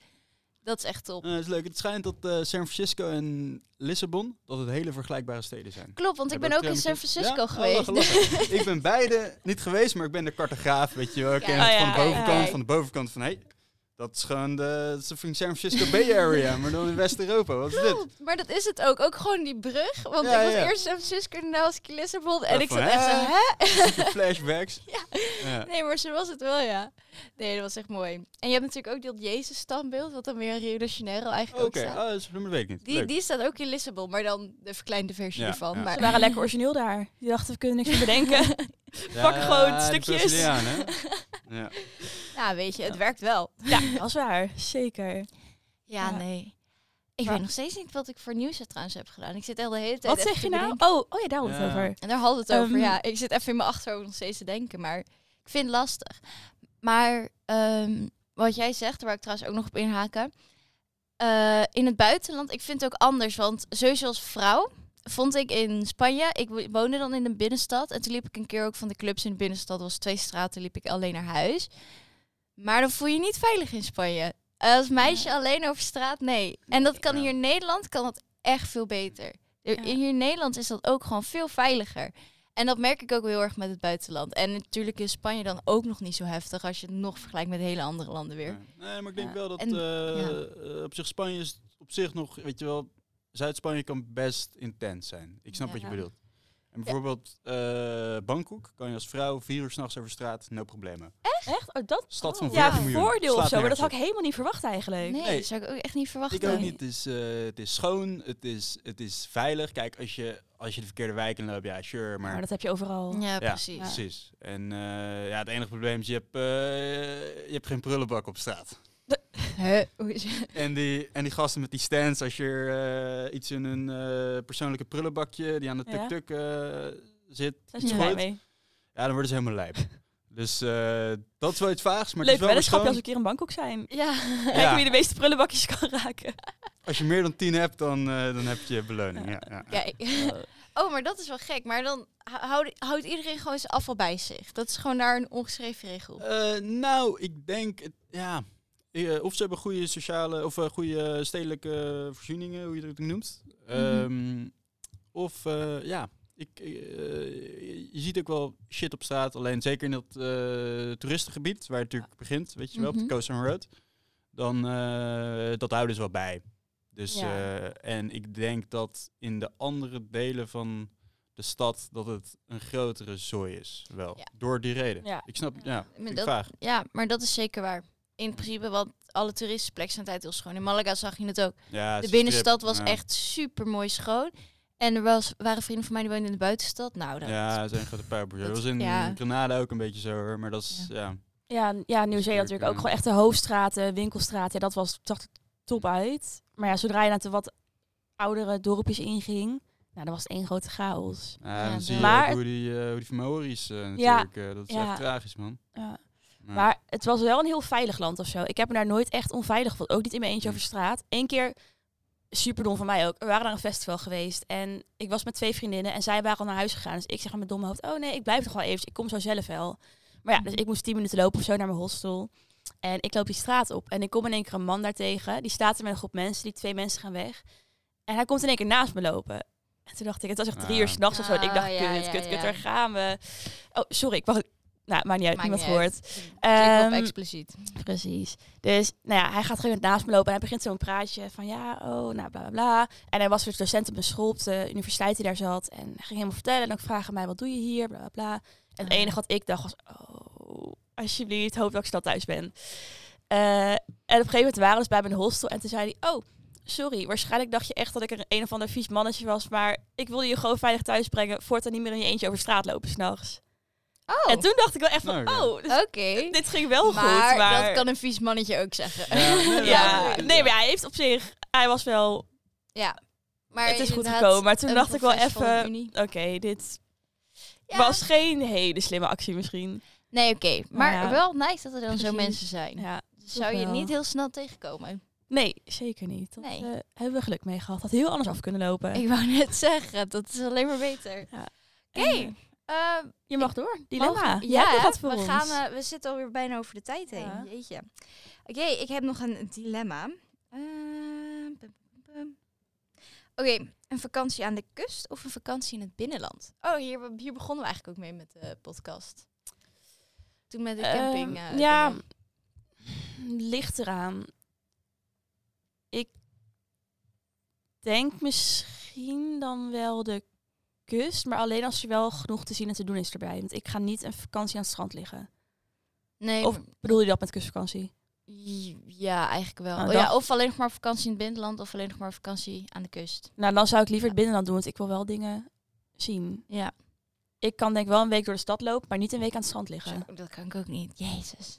Speaker 3: dat is echt top.
Speaker 5: Eh, dat is leuk. Het schijnt dat eh, San Francisco en Lissabon dat het hele vergelijkbare steden zijn.
Speaker 3: Klopt, want ik
Speaker 5: Hebben
Speaker 3: ben ook in
Speaker 5: trammetjes?
Speaker 3: San Francisco
Speaker 5: Ja? Oh,
Speaker 3: geweest. <laughs>
Speaker 5: lachen, lachen. ik ben beide niet geweest, maar ik ben de cartograaf, weet je wel. Ik
Speaker 3: Ja.
Speaker 5: ken
Speaker 1: Oh,
Speaker 5: het
Speaker 1: ja,
Speaker 5: van de
Speaker 1: kijk,
Speaker 5: bovenkant,
Speaker 3: kijk.
Speaker 5: van de bovenkant van, hé, dat is gewoon de dat is de San Francisco Bay Area, maar dan in West-Europa. Wat is
Speaker 3: <laughs>
Speaker 5: dit?
Speaker 3: Klopt, maar dat is het ook. Ook gewoon die brug. Want
Speaker 5: Ja,
Speaker 3: ik was
Speaker 5: ja.
Speaker 3: eerst in San Francisco, daarna was ik in Lissabon. En
Speaker 5: Ja,
Speaker 3: ik
Speaker 5: van,
Speaker 3: zat echt zo,
Speaker 5: hè?
Speaker 3: hè?
Speaker 5: Super flashbacks. Ja.
Speaker 3: <laughs> Nee, maar zo was het wel, ja. Nee, dat was echt mooi. En je hebt natuurlijk ook dat Jezus-standbeeld, wat dan weer in Rio de Janeiro
Speaker 5: Oké,
Speaker 3: eigenlijk ook
Speaker 5: oh,
Speaker 3: staat.
Speaker 5: dat is- dat weet ik niet.
Speaker 3: Die,
Speaker 5: Leuk.
Speaker 3: die staat ook in Lissabon, maar dan de verkleinde versie
Speaker 5: Ja,
Speaker 3: ervan.
Speaker 5: ja.
Speaker 1: Ze
Speaker 3: Maar
Speaker 1: waren lekker origineel daar. Die dachten, we kunnen niks meer bedenken.
Speaker 3: <laughs>
Speaker 5: Ja,
Speaker 1: pakken gewoon
Speaker 5: die
Speaker 1: stukjes.
Speaker 5: Braziliaan, hè? Ja.
Speaker 3: ja, nou, weet je, het werkt wel.
Speaker 1: ja, dat is waar. Zeker.
Speaker 3: Ja,
Speaker 1: Ja.
Speaker 3: nee. Ik
Speaker 1: Maar-
Speaker 3: weet nog steeds niet wat ik voor nieuws er trouwens heb gedaan. Ik zit al de hele tijd
Speaker 1: Wat
Speaker 3: even
Speaker 1: zeg
Speaker 3: te
Speaker 1: je nou?
Speaker 3: bedenken.
Speaker 1: Oh, oh ja, daar hadden we het
Speaker 5: Ja.
Speaker 1: over.
Speaker 3: En daar hadden we het over,
Speaker 1: Ehm.
Speaker 3: ja. Ik zit even in mijn achterhoofd nog steeds te denken, maar ik vind het lastig. Maar ehm, wat jij zegt, waar ik trouwens ook nog op inhaken. eh, in het buitenland, ik vind het ook anders. Want sowieso als vrouw vond ik in Spanje, ik wo- woonde dan in de binnenstad. En toen liep ik een keer ook van de clubs in de binnenstad. Dat was twee straten, liep ik alleen naar huis. Maar dan voel je je niet veilig in Spanje. Eh, Als meisje alleen over straat, nee. En dat kan
Speaker 5: Ja.
Speaker 3: hier in Nederland, kan dat echt veel beter. Er-
Speaker 1: Ja.
Speaker 3: Hier in Nederland is dat ook gewoon veel veiliger. En dat merk ik ook heel erg met het buitenland. En natuurlijk in Spanje dan ook nog niet zo heftig als je het nog vergelijkt met hele andere landen weer.
Speaker 5: Nee, maar ik denk
Speaker 1: Ja.
Speaker 5: wel dat
Speaker 3: En-
Speaker 5: eh, eh, op zich Spanje is op zich nog, weet je wel, Zuid-Spanje kan best intens zijn. Ik snap wat je
Speaker 1: Ja.
Speaker 5: bedoelt. En bijvoorbeeld eh Bangkok kan je als vrouw vier uur s'nachts over straat, no problemen.
Speaker 1: Echt? Oh, dat...
Speaker 5: Stad
Speaker 3: Oh.
Speaker 5: van
Speaker 1: Ja,
Speaker 5: 14 miljoen.
Speaker 1: voordeel of
Speaker 5: slaat
Speaker 1: zo. Maar dat
Speaker 5: nergens
Speaker 1: had
Speaker 5: op.
Speaker 1: ik helemaal niet verwacht eigenlijk.
Speaker 3: Nee,
Speaker 5: Nee.
Speaker 3: dat zou ik ook echt niet verwachten.
Speaker 5: Ik ook niet. Het is, eh, het is schoon, het is, het is veilig. Kijk, als je, als je de verkeerde wijk in loopt, ja, sure, maar...
Speaker 1: Maar dat heb je overal.
Speaker 3: Ja,
Speaker 5: ja,
Speaker 3: precies. Ja.
Speaker 5: precies. En eh, ja, het enige probleem is, je hebt, eh, je hebt geen prullenbak op straat. En die, en die gasten met die stands, als je eh, iets in hun eh, persoonlijke prullenbakje die aan de
Speaker 1: Ja.
Speaker 5: tuk-tuk eh, zit,
Speaker 1: Daar zijn ze
Speaker 3: Ja.
Speaker 1: blij mee.
Speaker 5: ja, dan worden ze helemaal
Speaker 1: <laughs>
Speaker 5: lijp. dus eh, dat is wel iets vaags, maar
Speaker 1: Leuk
Speaker 5: het is wel weer
Speaker 1: weddenschapje als we
Speaker 5: schoon.
Speaker 1: een keer in Bangkok zijn. <laughs>
Speaker 3: <laughs>
Speaker 5: Ja.
Speaker 1: Kijken wie de meeste prullenbakjes kan raken.
Speaker 5: Als je meer dan tien hebt, dan, eh, dan heb je beloning. Ja, ja.
Speaker 3: Kijk. Oh, maar dat is wel gek. Maar dan hou- houdt, houdt iedereen gewoon zijn afval bij zich. Dat is gewoon daar een ongeschreven regel.
Speaker 5: Eh, nou, ik denk, het- ja, eh, of ze hebben goede sociale of eh, goede stedelijke voorzieningen, hoe je het ook noemt. Ehm, of eh, ja, ik, eh, je ziet ook wel shit op straat. Alleen zeker in dat eh, toeristengebied, waar het natuurlijk begint, weet je wel, op
Speaker 3: Mhm.
Speaker 5: de Coast Sun Road. Dan, eh, dat houden ze wel bij. Dus,
Speaker 1: Ja.
Speaker 5: eh, en ik denk dat in de andere delen van de stad dat het een grotere zooi is, wel.
Speaker 3: Ja.
Speaker 5: Door die reden.
Speaker 1: Ja.
Speaker 5: Ik snap, ja, vind ik
Speaker 3: dat-
Speaker 5: vaag.
Speaker 3: Ja, maar dat is zeker waar. In principe, want alle toeristenplekken zijn altijd heel schoon. In Malaga zag je het ook.
Speaker 5: Ja, het
Speaker 3: De
Speaker 5: is
Speaker 3: binnenstad
Speaker 5: strip,
Speaker 3: was
Speaker 5: ja.
Speaker 3: echt super mooi schoon. En er was, waren vrienden van mij die woonden in de buitenstad. Nou, dat
Speaker 5: Ja, het zijn grote puipen. Dat
Speaker 3: dat-
Speaker 5: was in
Speaker 3: ja.
Speaker 5: Grenada ook een beetje zo hoor, maar dat is ja.
Speaker 1: <laughs> Ja, n- ja Nieuw-Zeeland
Speaker 5: Zeker,
Speaker 1: natuurlijk ook
Speaker 5: ja.
Speaker 1: gewoon echt de hoofdstraten, winkelstraten. Ja, dat was, zag er top uit. Maar ja, zodra je naar de wat oudere dorpjes inging, nou, dan was het één grote chaos.
Speaker 5: Ja,
Speaker 3: Ja,
Speaker 5: dan zie
Speaker 3: de-
Speaker 5: je
Speaker 1: Maar-
Speaker 5: ook hoe die, eh, hoe die van Maori's eh,
Speaker 1: Ja,
Speaker 5: natuurlijk. eh, dat is
Speaker 1: ja.
Speaker 5: echt tragisch, man.
Speaker 1: Ja.
Speaker 5: Ja.
Speaker 1: Maar het was wel een heel veilig land of zo. Ik heb me daar nooit echt onveilig gevoeld. Ook niet in mijn eentje
Speaker 5: Hm.
Speaker 1: over straat. Eén keer, superdom van mij ook. We waren naar een festival geweest. En ik was met twee vriendinnen en zij waren al naar huis gegaan. Dus ik zeg aan mijn domme hoofd, oh nee, ik blijf nog wel even. Ik kom zo zelf wel. Maar ja, dus
Speaker 5: Mm.
Speaker 1: ik moest tien minuten lopen of zo naar mijn hostel. En ik loop die straat op. En ik kom in één keer een man daartegen. Die staat er met een groep mensen. Die twee mensen gaan weg. En hij komt in één keer naast me lopen. En toen dacht ik, het was echt drie
Speaker 5: Ah.
Speaker 1: uur s'nachts of zo. En ik dacht, kut,
Speaker 3: Ah, ja,
Speaker 1: kut, kut,
Speaker 3: ja, ja.
Speaker 1: daar gaan we. Oh, sorry, ik wacht. Nou, maakt niet uit,
Speaker 3: maakt
Speaker 1: niemand
Speaker 3: niet
Speaker 1: gehoord.
Speaker 3: uit. Klik
Speaker 1: Ehm,
Speaker 3: op expliciet.
Speaker 1: Precies. Dus nou ja, hij gaat gewoon naast me lopen en hij begint zo'n praatje van ja, oh, nou bla bla bla. En hij was dus docent op een school op de universiteit die daar zat. En hij ging helemaal vertellen en ook vragen aan mij, wat doe je hier, bla bla bla. En het
Speaker 3: Ah.
Speaker 1: enige wat ik dacht was, oh, alsjeblieft, hoop dat ik snel thuis ben. Eh, en op een gegeven moment waren we dus bij mijn hostel en toen zei hij, oh, sorry, waarschijnlijk dacht je echt dat ik een, een of ander vies mannetje was. Maar ik wilde je gewoon veilig thuis brengen. Voortaan niet meer in je eentje over straat lopen s'nachts.
Speaker 3: Oh,
Speaker 1: En toen dacht ik wel echt van,
Speaker 5: Nou, ja.
Speaker 1: oh, dus
Speaker 3: oké. <laughs>
Speaker 1: dit ging wel
Speaker 3: maar,
Speaker 1: goed. Maar
Speaker 3: dat kan een vies mannetje ook <laughs> zeggen.
Speaker 5: Ja,
Speaker 1: Ja,
Speaker 5: ja.
Speaker 1: nee, maar hij heeft op zich, hij was wel,
Speaker 3: Ja. Maar
Speaker 1: het is goed
Speaker 3: inderdaad,
Speaker 1: gekomen. Maar toen
Speaker 3: een
Speaker 1: dacht ik wel
Speaker 3: profes van de
Speaker 1: even,
Speaker 3: Unie.
Speaker 1: oké, dit
Speaker 3: Ja.
Speaker 1: was geen hele slimme actie misschien.
Speaker 3: Nee, oké. Maar
Speaker 1: ja.
Speaker 3: wel nice dat er dan zo
Speaker 1: Precies.
Speaker 3: mensen zijn.
Speaker 1: Ja.
Speaker 3: Zou je
Speaker 1: wel.
Speaker 3: niet heel snel tegenkomen.
Speaker 1: Nee, zeker niet. Dat
Speaker 3: Nee.
Speaker 1: eh, hebben we geluk mee gehad. Had heel anders af kunnen lopen.
Speaker 3: Ik wou net zeggen, dat is alleen maar beter.
Speaker 1: En,
Speaker 3: Oké.
Speaker 1: eh,
Speaker 3: Eh,
Speaker 1: je mag door. Dilemma.
Speaker 3: Mag-
Speaker 1: Ah, Jij hebt nog
Speaker 3: hè?
Speaker 1: wat voor
Speaker 3: we
Speaker 1: ons.
Speaker 3: Gaan, eh, we zitten alweer bijna over de tijd heen.
Speaker 1: Ja.
Speaker 3: Jeetje. Oké, ik heb nog een dilemma. Eh, pum, pum, pum. Oké, een vakantie aan de kust of een vakantie in het binnenland? Oh, hier, be- hier begonnen we eigenlijk ook mee met de podcast. Toen met de
Speaker 1: Ehm,
Speaker 3: camping. eh,
Speaker 1: ja,
Speaker 3: dingen.
Speaker 1: ligt eraan. Ik denk misschien dan wel de kust, maar alleen als er wel genoeg te zien en te doen is erbij. Want ik ga niet een vakantie aan het strand liggen.
Speaker 3: Nee,
Speaker 1: Of bedoel je dat met kustvakantie?
Speaker 3: j- ja, eigenlijk wel.
Speaker 1: Nou,
Speaker 3: Oh ja,
Speaker 1: dat-
Speaker 3: of alleen nog maar vakantie in het binnenland of alleen nog maar vakantie aan de kust.
Speaker 1: Nou, dan zou ik liever het binnenland doen, want ik wil wel dingen zien.
Speaker 3: Ja,
Speaker 1: Ik kan denk ik wel een week door de stad lopen, maar niet een week aan het strand liggen.
Speaker 3: Zo, dat kan ik ook niet. Jezus.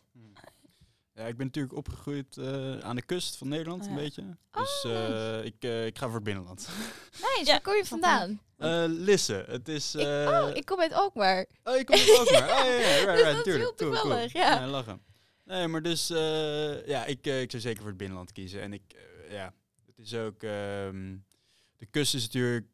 Speaker 5: Ja, ik ben natuurlijk opgegroeid eh, aan de kust van Nederland,
Speaker 1: Oh,
Speaker 5: een
Speaker 1: ja.
Speaker 5: beetje. Dus
Speaker 3: Oh,
Speaker 5: eh,
Speaker 3: nice.
Speaker 5: ik, eh, ik ga voor het binnenland.
Speaker 3: Nice,
Speaker 1: Ja,
Speaker 3: waar kom je
Speaker 1: snap ik.
Speaker 3: vandaan?
Speaker 5: Eh Lisse, het is...
Speaker 3: Ik-
Speaker 5: eh,
Speaker 3: oh, ik kom uit Alkmaar.
Speaker 5: Oh, je komt er ook maar. Oh, ja, ja, ja,
Speaker 3: <laughs>
Speaker 5: right,
Speaker 3: Dus
Speaker 5: right,
Speaker 3: dat is
Speaker 5: tuurlijk,
Speaker 3: heel
Speaker 5: cool, cool.
Speaker 3: toevallig, ja.
Speaker 5: lachen. Nee, maar dus, eh, ja, ik, eh, ik zou zeker voor het binnenland kiezen. En ik, eh, ja, het is ook, ehm, de kust is natuurlijk,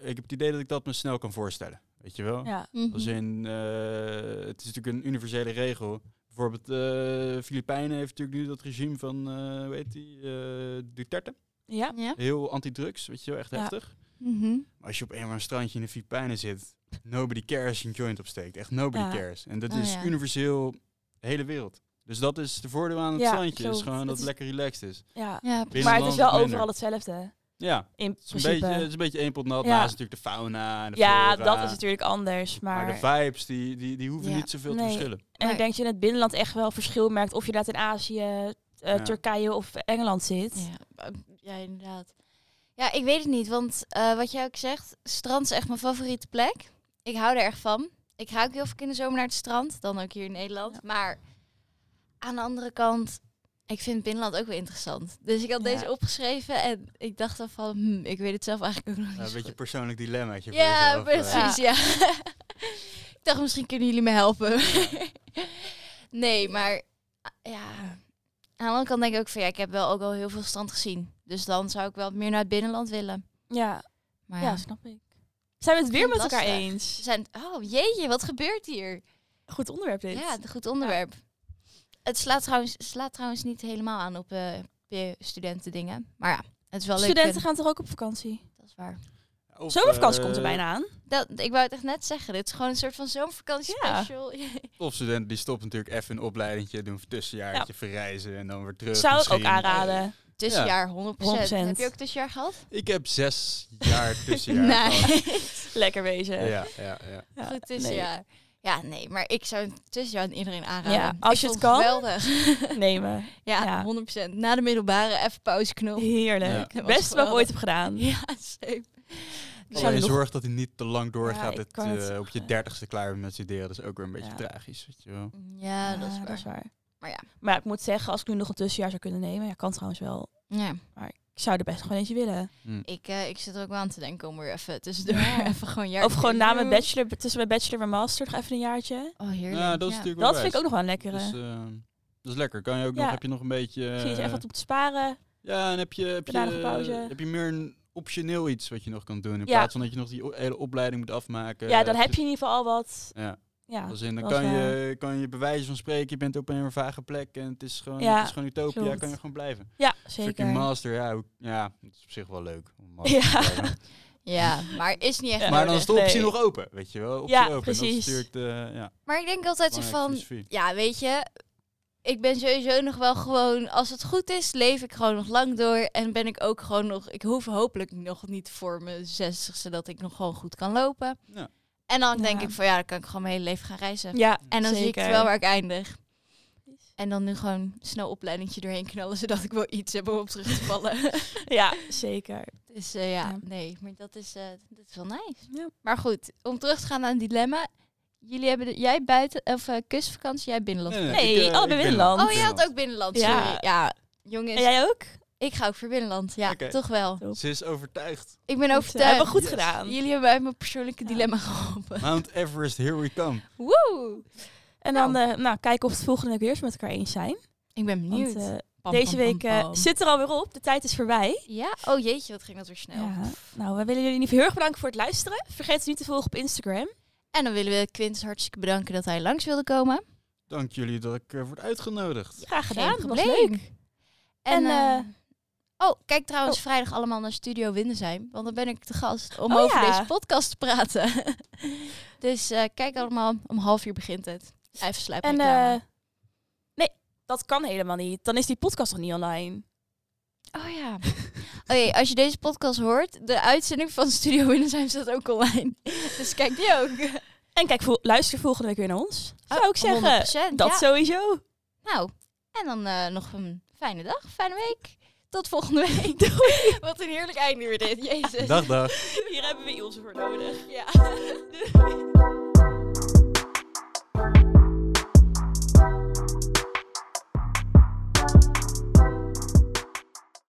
Speaker 5: ik heb het idee dat ik dat me snel kan voorstellen, weet je wel?
Speaker 1: Ja.
Speaker 5: Als in, eh, het is natuurlijk een universele regel. Bijvoorbeeld, eh Filipijnen heeft natuurlijk nu dat regime van, eh, hoe heet die, eh, Duterte.
Speaker 1: Ja.
Speaker 3: Ja.
Speaker 5: Heel anti-drugs, weet je wel, echt
Speaker 1: Ja.
Speaker 5: heftig. Maar als je op een of ander strandje in de Filipijnen zit, nobody cares je een joint opsteekt. Echt nobody
Speaker 1: Ja.
Speaker 5: cares. En dat
Speaker 3: Oh,
Speaker 5: is
Speaker 3: ja.
Speaker 5: universeel de hele wereld. Dus dat is de voordeel aan het
Speaker 1: Ja,
Speaker 5: strandje. Is
Speaker 1: klopt.
Speaker 5: gewoon dat
Speaker 1: Het
Speaker 5: het
Speaker 1: is-
Speaker 5: lekker relaxed is.
Speaker 1: ja.
Speaker 3: Ja,
Speaker 5: Binnen-
Speaker 1: Maar het is wel
Speaker 5: Binnenland
Speaker 1: overal
Speaker 5: minder.
Speaker 1: hetzelfde.
Speaker 5: Ja,
Speaker 1: In
Speaker 5: het is een beetje, het
Speaker 1: principe.
Speaker 5: is een beetje één pot nat.
Speaker 1: Ja.
Speaker 5: Naast natuurlijk de fauna en de
Speaker 1: Ja,
Speaker 5: flora.
Speaker 1: dat is natuurlijk anders.
Speaker 5: Maar,
Speaker 1: Maar,
Speaker 5: de vibes, die, die, die hoeven
Speaker 3: Ja.
Speaker 5: niet zoveel
Speaker 1: Nee. <laughs>
Speaker 5: te verschillen.
Speaker 1: En
Speaker 3: Maar-
Speaker 1: ik denk dat je in het binnenland echt wel verschil merkt of je dat in Azië, eh,
Speaker 5: Ja.
Speaker 1: Turkije of Engeland zit.
Speaker 3: Ja, eh, ja, inderdaad. Ja, ik weet het niet, want eh, wat jij ook zegt, strand is echt mijn favoriete plek. Ik hou er erg van. Ik ga ook heel vaak in de zomer naar het strand, dan ook hier in Nederland.
Speaker 1: Ja.
Speaker 3: Maar aan de andere kant, ik vind het binnenland ook wel interessant. Dus ik had
Speaker 1: Ja.
Speaker 3: deze opgeschreven en ik dacht dan van, hmm, ik weet het zelf eigenlijk ook nog niet
Speaker 5: Ja, een
Speaker 3: zo
Speaker 5: beetje
Speaker 3: goed.
Speaker 5: persoonlijk dilemmaatje. voor
Speaker 3: Ja,
Speaker 5: jezelf, eh.
Speaker 3: precies, ja. ik dacht, misschien kunnen jullie me helpen. nee, maar ah, ja. Aan de andere kant denk ik ook van, ja, ik heb wel ook al heel veel strand gezien. Dus dan zou ik wel meer naar het binnenland willen.
Speaker 1: Ja,
Speaker 3: Maar
Speaker 1: ja,
Speaker 3: ja,
Speaker 1: snap ik. Zijn we het weer
Speaker 3: vind
Speaker 1: met
Speaker 3: het
Speaker 1: elkaar
Speaker 3: lastig.
Speaker 1: eens?
Speaker 3: ze zijn, oh jeetje, wat gebeurt hier?
Speaker 1: Goed onderwerp dit.
Speaker 3: Ja, een goed onderwerp. Het slaat trouwens, slaat trouwens niet helemaal aan op eh p- studentendingen. Maar ja, het is wel leuk. eh.
Speaker 1: Studenten
Speaker 3: kunnen.
Speaker 1: gaan toch ook op vakantie?
Speaker 3: Dat is waar.
Speaker 5: Of,
Speaker 1: Zomervakantie
Speaker 5: eh,
Speaker 1: komt er bijna aan.
Speaker 3: Dat, ik wou het echt net zeggen. Dit is gewoon een soort van zomervakantie
Speaker 1: Ja.
Speaker 3: special.
Speaker 5: Of studenten die stoppen natuurlijk even een opleidingje, doen een tussenjaartje, verreizen en dan weer terug.
Speaker 1: Zou ik ook
Speaker 5: misschien.
Speaker 1: aanraden.
Speaker 3: Tussenjaar, 100%.
Speaker 1: 100%.
Speaker 3: Heb je ook tussenjaar gehad?
Speaker 5: Ik heb zes
Speaker 1: <laughs>
Speaker 5: jaar tussenjaar gehad.
Speaker 3: nee. <laughs>
Speaker 1: Lekker wezen.
Speaker 5: Ja, ja, ja.
Speaker 1: Ja,
Speaker 3: Goed
Speaker 1: nee.
Speaker 3: tussenjaar. Ja, nee, maar ik zou een tussenjaar aan iedereen aanraden.
Speaker 1: Ja, als
Speaker 3: Ik
Speaker 1: je
Speaker 3: vond
Speaker 1: het kan. <laughs>
Speaker 3: Geweldig.
Speaker 1: Nemen. Ja.
Speaker 3: Ja, 100%. Na de middelbare even pauzeknop.
Speaker 1: Heerlijk.
Speaker 3: Ja.
Speaker 1: Best wat ik ooit heb gedaan.
Speaker 3: <laughs> Ja, zeker.
Speaker 1: Zou
Speaker 5: Alleen
Speaker 1: je nog-
Speaker 5: zorg dat hij niet te lang doorgaat.
Speaker 1: ik
Speaker 5: dat,
Speaker 1: wou net
Speaker 5: eh,
Speaker 1: zeggen.
Speaker 5: op je dertigste klaar bent met studeren. Dat is ook weer een beetje
Speaker 1: Ja.
Speaker 5: tragisch, weet je wel.
Speaker 3: Ja, dat is
Speaker 1: Ja,
Speaker 3: waar. Maar ja.
Speaker 1: Maar ik moet zeggen, als ik nu nog een tussenjaar zou kunnen nemen, ja, kan trouwens wel.
Speaker 3: Ja,
Speaker 1: Ik zou er best gewoon eentje willen.
Speaker 3: ik, eh, ik zit er ook wel aan te denken om weer even tussendoor
Speaker 1: Ja.
Speaker 3: <laughs> even gewoon een jaar
Speaker 1: of gewoon
Speaker 3: te
Speaker 1: na mijn
Speaker 3: doen.
Speaker 1: bachelor, tussen mijn bachelor en mijn master, nog even een jaartje.
Speaker 3: Oh, heerlijk.
Speaker 5: Ja, dat is
Speaker 3: ja.
Speaker 5: natuurlijk wel
Speaker 1: Dat vind ik ook nog wel een lekkere.
Speaker 5: Dus, eh, dat is lekker. Kan je ook
Speaker 1: Ja.
Speaker 5: nog, heb je nog een beetje...
Speaker 1: Misschien is er even
Speaker 5: eh,
Speaker 1: wat om te sparen.
Speaker 5: ja, en heb je, heb, je,
Speaker 1: Benaderen pauze.
Speaker 5: heb je meer een optioneel iets wat je nog kan doen. In
Speaker 1: Ja.
Speaker 5: plaats van dat je nog die o- hele opleiding moet afmaken.
Speaker 1: Ja, dan
Speaker 5: Eh,
Speaker 1: heb je in ieder geval al wat.
Speaker 5: Ja.
Speaker 1: Ja,
Speaker 5: Als in, dan
Speaker 1: dat is eh,
Speaker 5: kan je, kan je bewijzen van spreken, je bent op een vage plek en het is gewoon,
Speaker 1: Ja,
Speaker 5: het is gewoon utopia,
Speaker 1: klopt.
Speaker 5: kan je gewoon blijven.
Speaker 1: ja
Speaker 5: Fucking
Speaker 1: zeker.
Speaker 5: master, ja, hoe- ja, het is op zich wel leuk. Om een master
Speaker 1: <laughs> Ja.
Speaker 5: te hebben.
Speaker 3: Ja, maar is niet echt
Speaker 1: Ja.
Speaker 5: Maar dan
Speaker 3: nodig.
Speaker 5: is de optie
Speaker 1: Nee.
Speaker 5: nog open, weet je wel. Optie
Speaker 1: Ja,
Speaker 5: open. En
Speaker 1: precies.
Speaker 5: Dat is natuurlijk de, ja,
Speaker 3: Maar ik denk altijd zo
Speaker 5: belangrijke
Speaker 3: van,
Speaker 5: filosofie.
Speaker 3: ja, weet je, ik ben sowieso nog wel gewoon, als het goed is, leef ik gewoon nog lang door. En ben ik ook gewoon nog, ik hoef hopelijk nog niet voor mijn zestigste dat ik nog gewoon goed kan lopen.
Speaker 5: Ja.
Speaker 3: En dan denk
Speaker 1: Ja.
Speaker 3: ik van, ja, dan kan ik gewoon mijn hele leven gaan reizen.
Speaker 1: Ja,
Speaker 3: En dan zie ik
Speaker 1: zeker.
Speaker 3: het wel waar ik eindig. En dan nu gewoon snel opleidingje doorheen knallen, zodat ik wel iets heb om op terug te vallen.
Speaker 1: Ja, zeker.
Speaker 3: dus eh, ja,
Speaker 1: Ja.
Speaker 3: nee, maar dat is, eh, dat is wel nice.
Speaker 1: Ja.
Speaker 3: Maar goed, om terug te gaan naar een dilemma. Jullie hebben, de- jij buiten, of eh, kustvakantie, jij binnenland.
Speaker 1: Nee, allebei
Speaker 5: eh, ben
Speaker 1: binnenland.
Speaker 3: Oh, jij had ook binnenland,
Speaker 1: Ja.
Speaker 3: sorry. Ja, jongens,
Speaker 1: En jij ook?
Speaker 3: ik ga ook voor binnenland. Ja,
Speaker 5: Oké.
Speaker 3: toch wel.
Speaker 5: Ze is overtuigd.
Speaker 3: Ik ben
Speaker 1: We eh, hebben
Speaker 3: overtuigd.
Speaker 1: goed
Speaker 5: Yes.
Speaker 1: gedaan.
Speaker 3: Jullie hebben uit mijn persoonlijke
Speaker 1: Ja.
Speaker 3: dilemma geholpen.
Speaker 5: Mount Everest, here we come.
Speaker 3: Woe!
Speaker 1: En dan eh, nou, kijken of we het volgende week weer eens met elkaar eens zijn.
Speaker 3: Ik ben benieuwd.
Speaker 1: Want eh, deze week eh, zit er alweer op. De tijd is voorbij.
Speaker 3: Ja? Oh jeetje, wat ging dat weer snel.
Speaker 1: Ja. Nou, we willen jullie in ieder geval heel erg bedanken voor het luisteren. Vergeet ons niet te volgen op Instagram.
Speaker 3: En dan willen we Quintus hartstikke bedanken dat hij langs wilde komen.
Speaker 5: Dank jullie dat ik eh, word uitgenodigd.
Speaker 1: Graag gedaan.
Speaker 3: Geen
Speaker 1: was
Speaker 3: probleem.
Speaker 1: leuk.
Speaker 3: En,
Speaker 1: En,
Speaker 3: eh, oh, kijk trouwens
Speaker 1: oh.
Speaker 3: vrijdag allemaal naar Studio Windesheim. Want dan ben ik te gast om
Speaker 1: Oh,
Speaker 3: over
Speaker 1: ja.
Speaker 3: deze podcast te praten. <laughs> dus eh, kijk allemaal, om half uur begint het. Even slijpen.
Speaker 1: En
Speaker 3: reclame.
Speaker 1: eh, nee, dat kan helemaal niet. Dan is die podcast nog niet online.
Speaker 3: Oh ja. <laughs> Oké, als je deze podcast hoort, de uitzending van Studio Windesheim staat ook online. <laughs> dus kijk die
Speaker 1: <laughs>
Speaker 3: ook.
Speaker 1: En kijk, vo- luister volgende week weer naar ons.
Speaker 3: Oh,
Speaker 1: Zou Oh, ik zeggen.
Speaker 3: 100%,
Speaker 1: Dat
Speaker 3: ja.
Speaker 1: sowieso.
Speaker 3: Nou, en dan eh, nog een fijne dag, fijne week.
Speaker 1: <laughs>
Speaker 3: Tot volgende week. <laughs> Wat een heerlijk einde weer dit. Jezus.
Speaker 5: Dag, dag.
Speaker 1: Hier hebben we Ilse voor nodig.
Speaker 3: Ja.
Speaker 1: Doei.